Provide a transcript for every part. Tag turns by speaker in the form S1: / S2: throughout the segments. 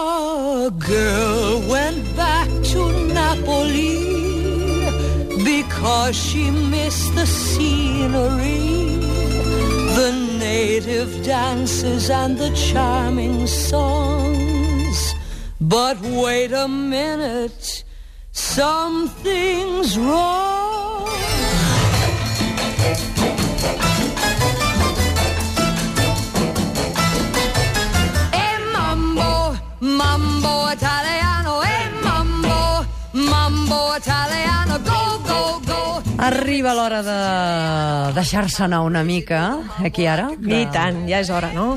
S1: A girl went back to Napoli because she missed the scenery, the native dances and the charming songs. But wait a minute, something's wrong. E mambo, mambo italiano, e mambo, mambo italiano, go, go, go.
S2: Arriba l'hora de deixar-se anar una mica, aquí ara. De...
S3: I tant, ja és hora, no?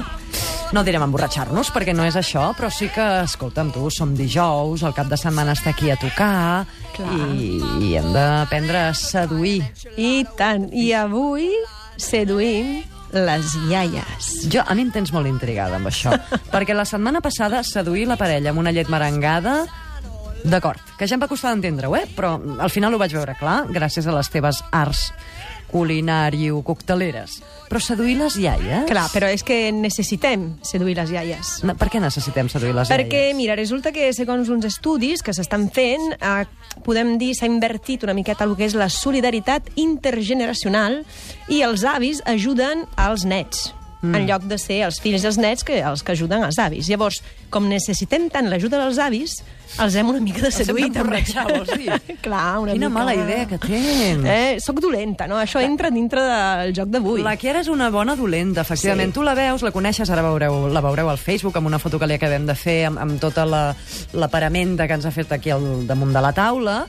S2: No direm emborratxar-nos, perquè no és això, però sí que, escolta'm, tu, som dijous, el cap de setmana està aquí a tocar, i, i hem d'aprendre a seduir.
S3: I tant. I avui seduïm les iaies.
S2: Jo, a mi em tens molt intrigada amb això, perquè la setmana passada seduir la parella amb una llet merengada... D'acord, que ja em va costar d'entendre-ho, eh? Però mm, al final ho vaig veure clar, gràcies a les teves arts culinari-cocteleres. Però eh? seduir les iaies...
S3: Clar, però és que necessitem seduir les iaies.
S2: No, Per què necessitem seduir les
S3: Perquè,
S2: iaies?
S3: mira, resulta que segons uns estudis que s'estan fent, eh, podem dir s'ha invertit una miqueta el que és la solidaritat intergeneracional i els avis ajuden als nets mm. en lloc de ser els fills i els nets que els que ajuden els avis. Llavors, com necessitem tant l'ajuda dels avis, els hem una mica de
S2: hem
S3: seduir, també.
S2: d'emborratxar, vols dir?
S3: Clar, una
S2: Quina
S3: mica...
S2: mala idea que tens.
S3: Eh, soc dolenta, no? Això entra dintre del joc d'avui.
S2: La Kiara és una bona dolenta, efectivament. Sí. Tu la veus, la coneixes, ara veureu, la veureu al Facebook amb una foto que li acabem de fer amb, amb tota la, la paramenta que ens ha fet aquí al damunt de la taula.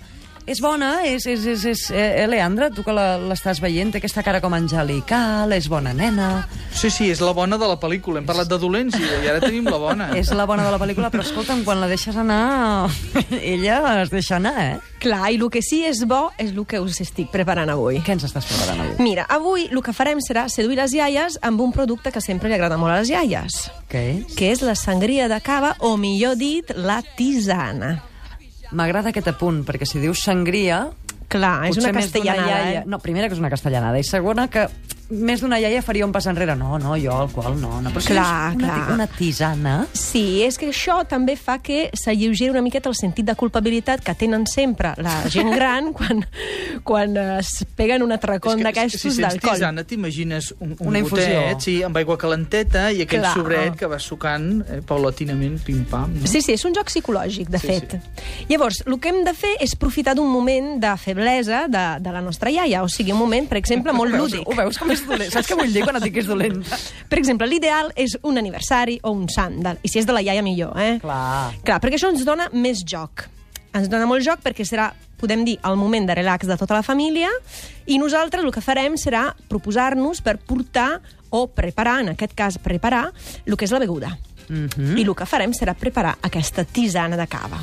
S2: És bona, és, és, és, és eh, Leandra, tu que la- l'estàs veient, té aquesta cara com angelical, és bona nena,
S4: Sí, sí, és la bona de la pel·lícula. Hem parlat de dolents i, i ara tenim la bona.
S2: és la bona de la pel·lícula, però escolta'm, quan la deixes anar, ella es deixa anar, eh?
S3: Clar, i el que sí és bo és el que us estic preparant avui.
S2: Què ens estàs preparant avui?
S3: Mira, avui el que farem serà seduir les iaies amb un producte que sempre li agrada molt a les iaies,
S2: Què és?
S3: que és la sangria de cava, o millor dit, la tisana.
S2: M'agrada aquest apunt, perquè si dius sangria,
S3: Clar, Ah, és
S2: Potser
S3: una
S2: més d'una
S3: castellanada,
S2: iaia...
S3: eh?
S2: No, primera que és una castellanada, i segona que més d'una iaia faria un pas enrere. No, no, jo, el qual, no. no. Però si
S3: Clar,
S2: és una,
S3: clar.
S2: una tisana...
S3: Sí, és que això també fa que s'alleugeri una miqueta el sentit de culpabilitat que tenen sempre la gent gran quan, quan es peguen un atracón d'aquestos
S4: si sents
S3: d'alcohol.
S4: tisana, t'imagines un, un
S2: Una infusió.
S4: gotet, sí, amb aigua calenteta i aquell
S3: Clar.
S4: Clar. sobret que vas sucant eh, paulatinament, pim-pam. No?
S3: Sí, sí, és un joc psicològic, de
S4: Sí,
S3: fet. Llavors, el que hem de fer és aprofitar d'un moment de feblesa de, de la nostra iaia, o sigui, un moment, per exemple, molt lúdic.
S2: Ho veus com és dolent? Saps què vull dir quan et dic que és dolent?
S3: Per exemple, l'ideal és un aniversari o un sant, de- i si és de la iaia millor, eh?
S2: Clar.
S3: Clar, perquè això ens dona més joc. Ens dona molt joc perquè serà, podem dir, el moment de relax de tota la família i nosaltres el que farem serà proposar-nos per portar o preparar, en aquest cas preparar, el que és la beguda.
S2: Mm
S3: I el que farem serà preparar aquesta tisana de cava.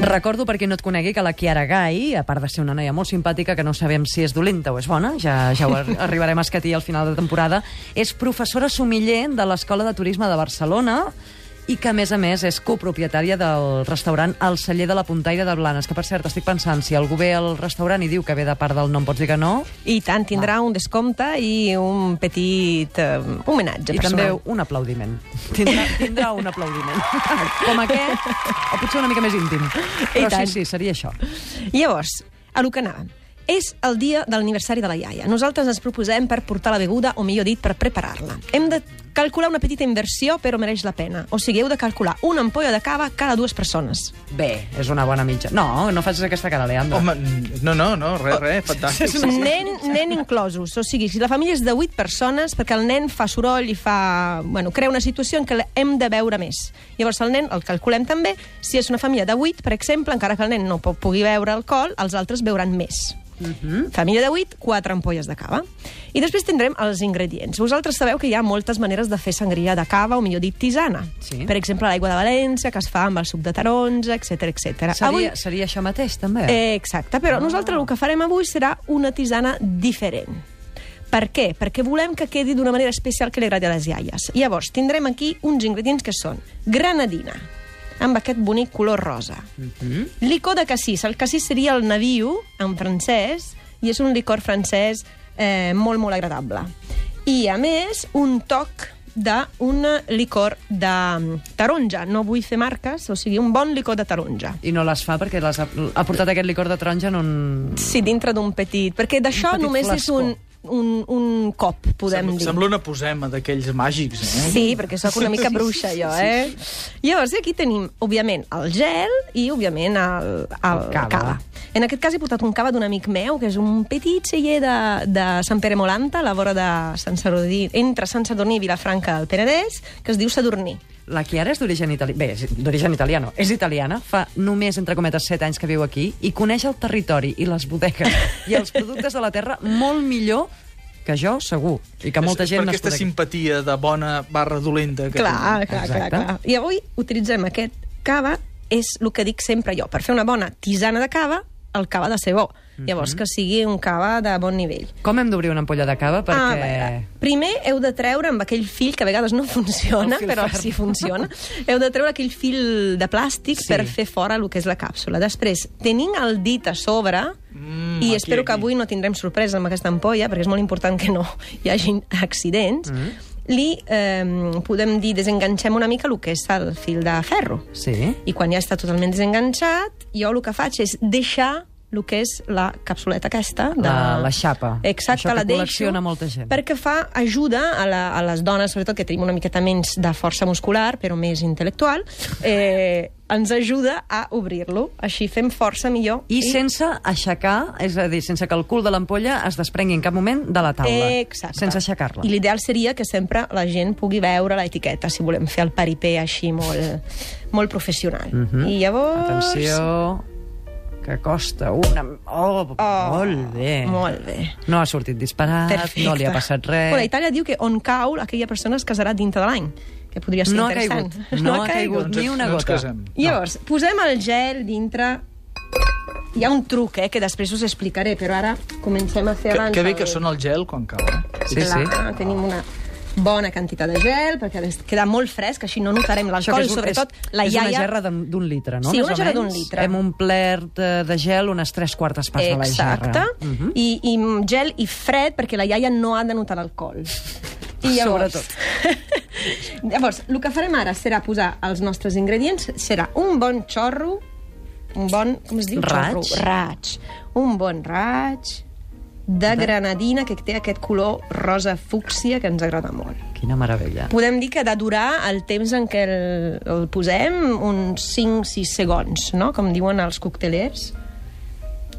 S2: Recordo, per qui no et conegui, que la Kiara Gai, a part de ser una noia molt simpàtica, que no sabem si és dolenta o és bona, ja, ja ho ar- arribarem a escatir al final de temporada, és professora somiller de l'Escola de Turisme de Barcelona i que, a més a més, és copropietària del restaurant El Celler de la Puntaire de Blanes, que, per cert, estic pensant, si algú ve al restaurant i diu que ve de part del nom, pots dir que no?
S3: I tant, tindrà un descompte i un petit eh, homenatge
S2: I
S3: personal.
S2: també un aplaudiment. Tindrà, tindrà un aplaudiment. Com aquest, o potser una mica més íntim.
S3: I
S2: Però
S3: tant.
S2: sí, sí, seria això.
S3: Llavors, a lo que anàvem. És el dia de l'aniversari de la iaia. Nosaltres ens proposem per portar la beguda, o millor dit, per preparar-la. Hem de calcular una petita inversió, però mereix la pena. O sigui, heu de calcular una ampolla de cava cada dues persones.
S2: Bé, és una bona mitja. No, no facis aquesta cara, Leandro.
S4: Home, n- no, no, no, res,
S3: Oh,
S4: res, fantàstic.
S3: Nen, nen inclosos. O sigui, si la família és de 8 persones, perquè el nen fa soroll i fa... Bueno, crea una situació en què hem de veure més. Llavors, el nen el calculem també. Si és una família de 8, per exemple, encara que el nen no po- pugui beure alcohol, els altres beuran més. Família de 8, 4 ampolles de cava. I després tindrem els ingredients. Vosaltres sabeu que hi ha moltes maneres de fer sangria de cava, o millor dit, tisana.
S2: Sí.
S3: Per exemple, l'aigua de València, que es fa amb el suc de taronja, etc etc.
S2: Seria, seria això mateix, també?
S3: Eh, exacte, però nosaltres el que farem avui serà una tisana diferent. Per què? Perquè volem que quedi d'una manera especial que li agradi a les iaies. Llavors, tindrem aquí uns ingredients que són granadina, amb aquest bonic color rosa. Mm -hmm. Licor de cassís. El cassís seria el naviu, en francès, i és un licor francès eh, molt, molt agradable. I, a més, un toc d'un licor de mm, taronja. No vull fer marques, o sigui, un bon licor de taronja.
S2: I no les fa perquè les ha, ha portat aquest licor de taronja en un...
S3: Sí, dintre d'un petit... Perquè d'això
S2: petit
S3: només
S2: flascó.
S3: és un, un, un cop, podem
S4: Sembla,
S3: dir.
S4: sembla una posema d'aquells màgics, eh?
S3: Sí, perquè sóc una mica bruixa, jo, eh? Llavors, aquí tenim, òbviament, el gel i, òbviament, el, el,
S2: El
S3: el
S2: cava.
S3: cava. En aquest cas he portat un cava d'un amic meu, que és un petit celler de, de Sant Pere Molanta, a la vora de Sant Sadurní, entre Sant Sadurní i Vilafranca del Penedès, que es diu Sadurní.
S2: La Chiara és d'origen italià. Bé, és d'origen italià no, és italiana. Fa només, entre cometes, 7 anys que viu aquí i coneix el territori i les bodegues i els productes de la terra molt millor que jo, segur. I que molta
S4: és,
S2: gent
S4: és per
S2: nascuda
S4: aquesta
S2: aquí.
S4: simpatia de bona barra dolenta que
S3: Clar,
S4: tenim.
S3: clar, clar,
S2: Exacte.
S3: clar. I avui utilitzem aquest cava, és el que dic sempre jo, per fer una bona tisana de cava, el cava de ser bo. Llavors, que sigui un cava de bon nivell.
S2: Com hem d'obrir una ampolla de cava?
S3: Ah,
S2: Perquè...
S3: veure, primer heu de treure amb aquell fil, que a vegades no funciona,
S2: El fil
S3: però
S2: ferro.
S3: sí funciona, heu de treure aquell fil de plàstic
S2: Sí.
S3: sí. per fer fora el que és la càpsula. Després, tenint el dit a sobre,
S4: Mm,
S3: mm, i
S4: aquí,
S3: espero que
S4: aquí.
S3: avui no tindrem sorpresa amb aquesta ampolla, perquè és molt important que no hi hagin accidents, mm. li eh, podem dir desenganxem una mica el que és el fil de ferro.
S2: Sí.
S3: I quan ja està totalment desenganxat, jo el que faig és deixar el que és la capsuleta aquesta. De...
S2: La- la xapa.
S3: Exacte,
S2: Això que
S3: la deixo.
S2: col·lecciona molta gent.
S3: Perquè fa ajuda a, la, a les dones, sobretot que tenim una miqueta menys de força muscular, però més intel·lectual, eh, ens ajuda a obrir-lo. Així fem força millor.
S2: I sense aixecar, és a dir, sense que el cul de l'ampolla es desprengui en cap moment de la taula.
S3: Exacte.
S2: Sense aixecar-la.
S3: I l'ideal seria que sempre la gent pugui veure l'etiqueta, si volem fer el paripé així molt, molt professional.
S2: Mhm.
S3: I llavors...
S2: Atenció, que costa una... Oh,
S3: Oh,
S2: molt bé.
S3: Molt bé.
S2: No ha sortit disparat,
S3: Perfecte.
S2: no li ha passat res.
S3: Però Itàlia diu que on cau aquella persona es casarà dintre de l'any, que podria ser
S2: No ha
S3: interessant.
S2: caigut, no, ha caigut ni
S4: ens-
S2: una
S4: Doncs no ens
S2: gota.
S4: casem.
S3: I Llavors, posem el gel dintre... Hi ha un truc, eh, que després us explicaré, però ara comencem a fer
S4: Que,
S3: abans...
S4: que bé que sona el gel quan cau, eh?
S2: Sí, sí.
S3: Clar, Ah, tenim una bona quantitat de gel, perquè ara es- queda molt fresc, així no notarem l'alcohol,
S2: és un-
S3: sobretot
S2: és,
S3: la iaia...
S2: És una gerra d'un d'un litre, no?
S3: Sí,
S2: Més
S3: una
S2: o
S3: gerra d'un
S2: menys?
S3: litre.
S2: Hem omplert eh, de gel unes tres quartes parts de la
S3: Exacte.
S2: gerra. Mhm.
S3: I, I gel i fred, perquè la iaia no ha de notar l'alcohol. I llavors... Sobretot. llavors, el que farem ara serà posar els nostres ingredients. Serà un bon xorro, un bon... Com es diu?
S2: Raig?
S3: Xorro. Raig. Un bon raig de granadina que té aquest color rosa fúcsia que ens agrada molt.
S2: Quina meravella.
S3: Podem dir que ha de durar el temps en què el, el posem uns 5-6 segons, no? com diuen els coctelers.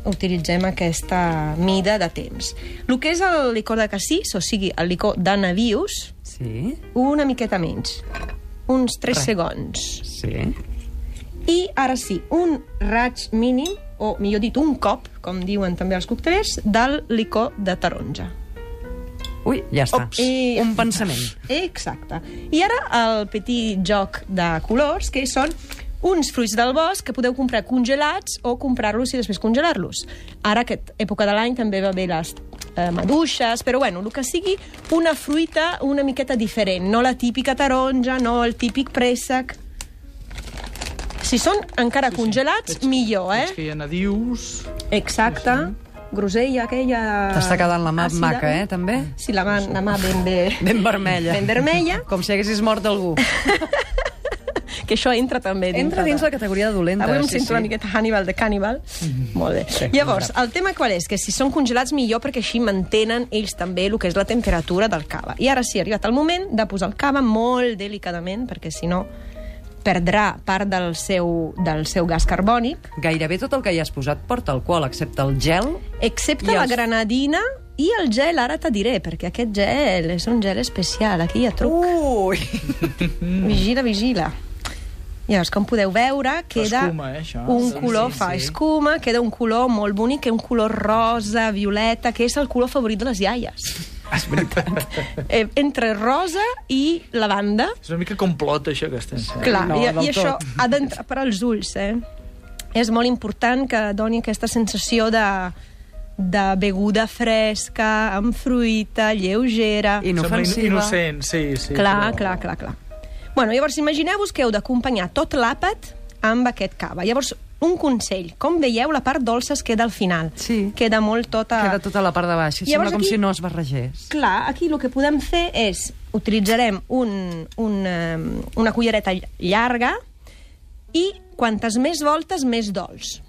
S3: Utilitzem aquesta mida de temps. El que és el licor de cassis, o sigui, el licor de navius,
S2: Sí,
S3: una miqueta menys, uns 3
S2: Res.
S3: segons.
S2: sí.
S3: I ara sí, un raig mínim, o millor dit, un cop, com diuen també els coctelers, del licor de taronja.
S2: Ui, ja està.
S3: Ops. I-
S2: Un pensament.
S3: Exacte. I ara el petit joc de colors, que són uns fruits del bosc que podeu comprar congelats o comprar-los i després congelar-los. Ara, aquesta època de l'any, també va bé les eh, maduixes, però bueno, el que sigui una fruita una miqueta diferent, no la típica taronja, no el típic préssec. Si són encara congelats, millor,
S4: Eh?
S3: eh?
S4: És que hi ha nadius...
S3: Exacte. Grosella, aquella...
S2: T'està quedant la mà
S3: àcida.
S2: maca, eh, també?
S3: Sí, la mà, la mà ben bé...
S2: Ben vermella.
S3: Ben vermella.
S2: Com si haguessis mort algú.
S3: que això entra també dintre
S2: Entra dins
S3: de-
S2: la categoria de dolenta.
S3: Avui em
S2: sí,
S3: sento
S2: sí. Mhm.
S3: una miqueta Hannibal de Cannibal. Molt bé. Llavors, el tema qual és? Que si són congelats millor perquè així mantenen ells també el que és la temperatura del cava. I ara sí, ha arribat el moment de posar el cava molt delicadament perquè si no perdrà part del seu, del seu gas carbònic,
S2: Gairebé tot el que hi has posat porta alcohol, excepte el gel.
S3: excepte
S2: I
S3: la
S2: els-
S3: granadina i el gel, ara te diré, perquè aquest gel és un gel especial, aquí hi ha truc.
S2: Ui!
S3: Vigila, vigila. Llavors, com podeu veure, queda
S4: Escuma, eh, això?
S3: un
S4: Sí,
S3: color,
S4: sí,
S3: fa
S4: sí.
S3: escuma, queda un color molt bonic, que és un color rosa, violeta, que és el color favorit de les iaies.
S4: Ah, És veritat.
S3: Eh, entre rosa i lavanda.
S4: És una mica complot, això, que estem fent.
S3: Clar,
S2: No,
S3: i,
S2: del
S3: i això
S2: tot.
S3: ha d'entrar per als ulls, eh? És molt important que doni aquesta sensació de, de beguda fresca, amb fruita, lleugera...
S2: Inofensiva.
S4: Sembla innocent, sí, sí.
S3: Clar,
S4: però-
S3: clar, clar, clar. Bueno, llavors imagineu-vos que heu d'acompanyar tot l'àpat amb aquest cava. Llavors, un consell. Com veieu, la part dolça es queda al final.
S2: Sí.
S3: Queda molt tota...
S2: Queda tota la part de baix. Llavors, Sembla
S3: Llavors
S2: com
S3: Doncs, aquí-
S2: si no es barregés.
S3: Clar, aquí el que podem fer és utilitzarem un, un, um, una cullereta ll- llarga i quantes més voltes, més dolç.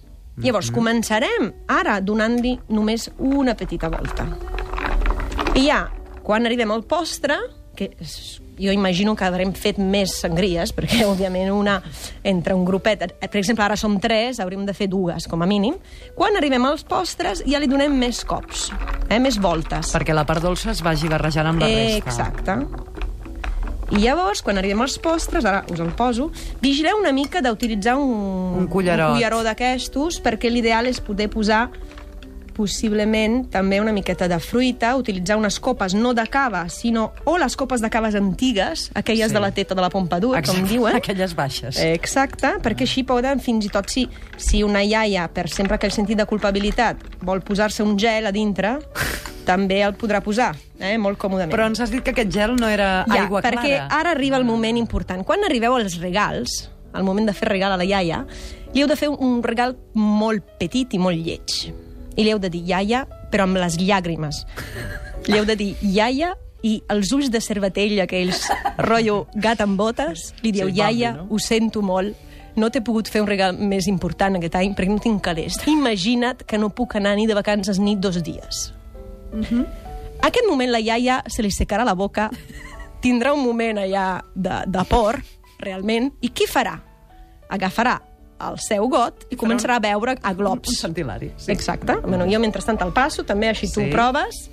S3: Llavors, començarem ara donant-li només una petita volta. I ja, quan arribem al postre, que és- jo imagino que haurem fet més sangries, perquè, òbviament, una entre un grupet... eh, Per exemple, ara som tres, hauríem de fer dues, com a mínim. Quan arribem als postres, ja li donem més cops, eh, més voltes.
S2: Perquè la part dolça es vagi barrejant amb la resta.
S3: Exacte. I llavors, quan arribem als postres, ara us el poso, vigileu una mica d'utilitzar un,
S2: Un cullerot.
S3: un culleró d'aquestos, perquè l'ideal és poder posar possiblement també una miqueta de fruita, utilitzar unes copes no de cava, sinó o les copes de caves antigues, aquelles
S2: Sí.
S3: de la teta de la Pompadour, com diuen.
S2: Aquelles baixes.
S3: Eh, Exacte, perquè així poden, fins i tot si, si una iaia, per sempre que el sentit de culpabilitat, vol posar-se un gel a dintre, també el podrà posar, eh? molt còmodament.
S2: Però ens has dit que aquest gel no era
S3: ja,
S2: aigua clara.
S3: perquè ara arriba el moment important. Quan arribeu als regals, al moment de fer regal a la iaia, li heu de fer un regal molt petit i molt lleig. I li heu de dir iaia, però amb les llàgrimes. Li heu de dir iaia i els ulls de cervatella, aquells rotllo gat amb botes, li dieu
S4: Sí, Bambi,
S3: iaia,
S4: no?
S3: ho sento molt, no t'he pogut fer un regal més important aquest any perquè no tinc calés. Imagina't que no puc anar ni de vacances ni dos dies. A aquest moment la iaia se li secarà la boca, tindrà un moment allà de, de por, realment, i què farà? Agafarà el seu got i començarà a veure a
S2: Un
S3: globs.
S2: Sant Hilari.
S3: Sí. Exacte. Bueno, jo, mentrestant, el passo, també així tu
S2: Sí.
S3: ho proves.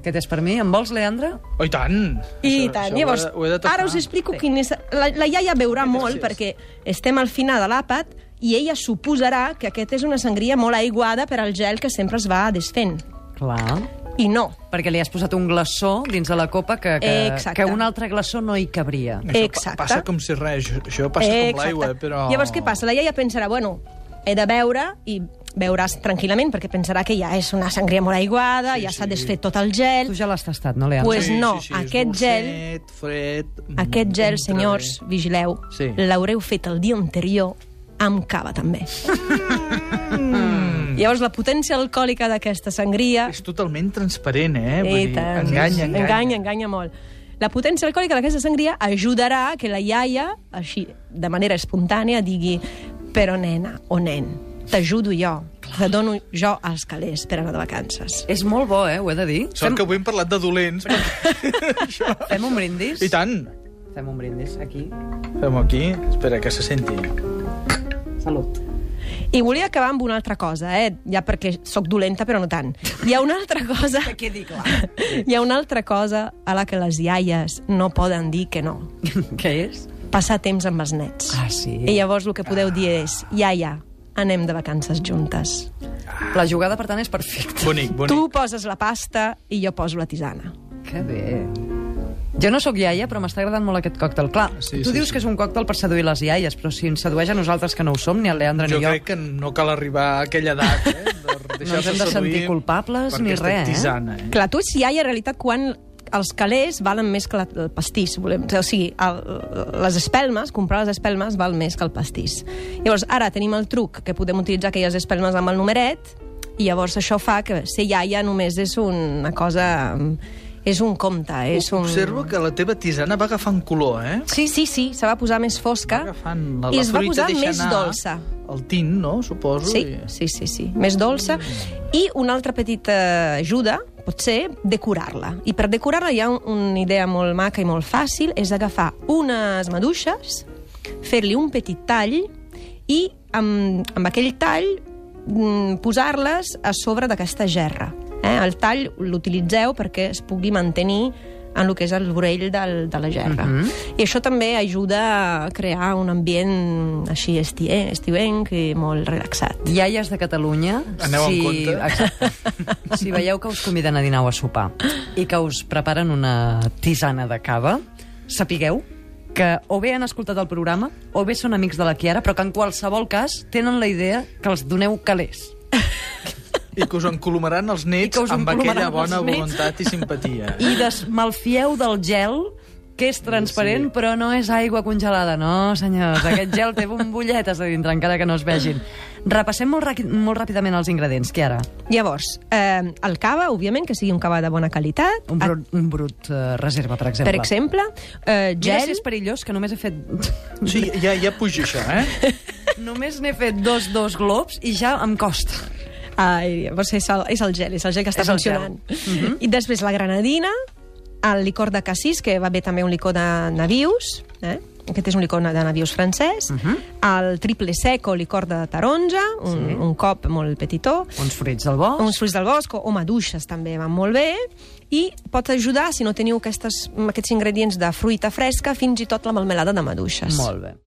S2: Aquest és per mi. Em vols, Leandre?
S4: Oh, I tant!
S3: I
S4: Això-
S3: tant.
S4: això ho he
S3: Llavors,
S4: de- ho he de
S3: ara
S4: tapar.
S3: us explico quin és... La, la iaia veurà molt, perquè estem al final de l'àpat, i ella suposarà que aquest és una sangria molt aiguada per al gel que sempre es va desfent.
S2: Clar.
S3: I no.
S2: Perquè li has posat un glaçó dins de la copa que, que,
S3: Exacte.
S2: que un altre glaçó no hi cabria.
S4: Això pa-
S3: Exacte.
S4: Passa com si res, això- això passa com
S3: Exacte.
S4: l'aigua, eh, però...
S3: Llavors, què passa? La iaia pensarà, bueno, he de beure i beuràs tranquil·lament, perquè pensarà que ja és una sangria molt aiguada, sí, ja s'ha desfet tot el gel...
S2: Tu ja l'has tastat, no, Leandre?
S3: Pues- no,
S4: és
S3: aquest gel-
S4: dolcet, fred... mm,
S3: Aquest gel,
S4: entra
S3: senyors,
S4: bé.
S3: vigileu,
S4: Sí.
S3: l'haureu fet el dia anterior amb cava, també. Mm. Llavors, la potència alcohòlica d'aquesta sangria...
S4: És totalment transparent, eh? Vull
S3: I
S4: dir,
S3: tant.
S4: Enganya, enganya.
S3: enganya, enganya molt. La potència alcohòlica d'aquesta sangria ajudarà a que la iaia, així, de manera espontània, digui però nena o nen, t'ajudo jo, te dono jo els calés per anar de vacances.
S2: És molt bo, eh? Ho he de dir.
S4: Sort que avui hem parlat de dolents. Això.
S2: Fem un brindis?
S4: I tant.
S2: Fem un brindis aquí.
S4: Fem aquí. Espera, que se senti.
S2: Salut.
S3: I volia acabar amb una altra cosa, eh? ja perquè sóc dolenta, però no tant. Hi ha una altra cosa...
S2: Que quedi clar.
S3: Hi ha una altra cosa a la que les iaies no poden dir que no.
S2: Què és?
S3: Passar temps amb els nets.
S2: Ah, sí?
S3: I llavors el que podeu dir és, iaia, anem de vacances juntes.
S2: La jugada, per tant, és perfecta.
S4: Bonic, bonic.
S3: Tu poses la pasta i jo poso la tisana.
S2: Que bé. Jo no sóc iaia, però m'està agradant molt aquest còctel. Clar,
S4: Sí,
S2: tu
S4: sí,
S2: dius
S4: sí.
S2: que és un còctel per seduir les iaies, però si ens sedueix a nosaltres que no ho som, ni al Leandre
S4: Jo
S2: ni jo...
S4: crec que no cal arribar a aquella edat, eh? De
S2: No ens hem de sentir culpables ni res, eh?
S4: Tisana, eh?
S3: Clar, tu ets iaia en realitat quan els calés valen més que la, el pastís. Volem, o sigui, el, les espelmes, comprar les espelmes val més que el pastís. Llavors, ara tenim el truc que podem utilitzar aquelles espelmes amb el numeret i llavors això fa que ser iaia només és una cosa... És un compte, és un...
S4: Observo que la teva tisana va agafant color, eh?
S3: Sí, sí, sí, se va posar més fosca
S4: Va agafant la,
S3: i
S4: la
S3: es va
S4: fruita
S3: posar
S4: deixa
S3: més
S4: anar
S3: dolça.
S4: El tint, no? Suposo.
S3: Sí,
S4: i-
S3: sí, sí, sí, més dolça. I una altra petita ajuda, pot ser, decorar-la. I per decorar-la hi ha un- una idea molt maca i molt fàcil, és agafar unes maduixes, fer-li un petit tall i amb, amb aquell tall mm, posar-les a sobre d'aquesta gerra. Eh? El tall l'utilitzeu perquè es pugui mantenir en el que és el vorell del, de la gerra. Mm -hmm. I això també ajuda a crear un ambient així estier, estiuenc i molt relaxat.
S2: Iaies de Catalunya,
S4: Aneu amb
S2: si...
S4: compte.
S2: Exacte. si veieu que us conviden a dinar o a sopar i que us preparen una tisana de cava, sapigueu que o bé han escoltat el programa o bé són amics de la Chiara, però que en qualsevol cas tenen la idea que els doneu calés.
S4: I que us encolomaran els
S2: I
S4: nets
S2: que us
S4: amb
S2: encolomaran
S4: aquella
S2: els
S4: bona
S2: nets.
S4: voluntat i simpatia.
S2: I desmalfieu del gel que és transparent, sí. però no és aigua congelada. No, senyors, aquest gel té bombolletes a dintre, encara que no es vegin. Repassem molt, ràqui- molt ràpidament els ingredients, Kiara.
S3: Llavors, eh, el cava, òbviament, que sigui un cava de bona qualitat. Ah,
S2: Un brut, un brut eh, reserva, per exemple.
S3: Per exemple, eh,
S2: Mira
S3: gel...
S2: si és perillós, que només he fet...
S4: Sí, ja, ja puja això, eh?
S2: només n'he fet dos, dos globs i ja em costa.
S3: Ai, doncs és el, és el gel, és el gel que està
S2: És el gel. Mhm.
S3: funcionant. I després la granadina, el licor de cassís, que va bé també un licor de navius, eh? aquest és un licor de navius francès,
S2: Mhm.
S3: el triple sec o licor de taronja, un, un cop molt petitó,
S2: Uns fruits del bosc.
S3: uns fruits del bosc o, o maduixes també van molt bé, i pot ajudar, si no teniu aquestes, aquests ingredients de fruita fresca, fins i tot la melmelada de maduixes.
S2: Molt bé.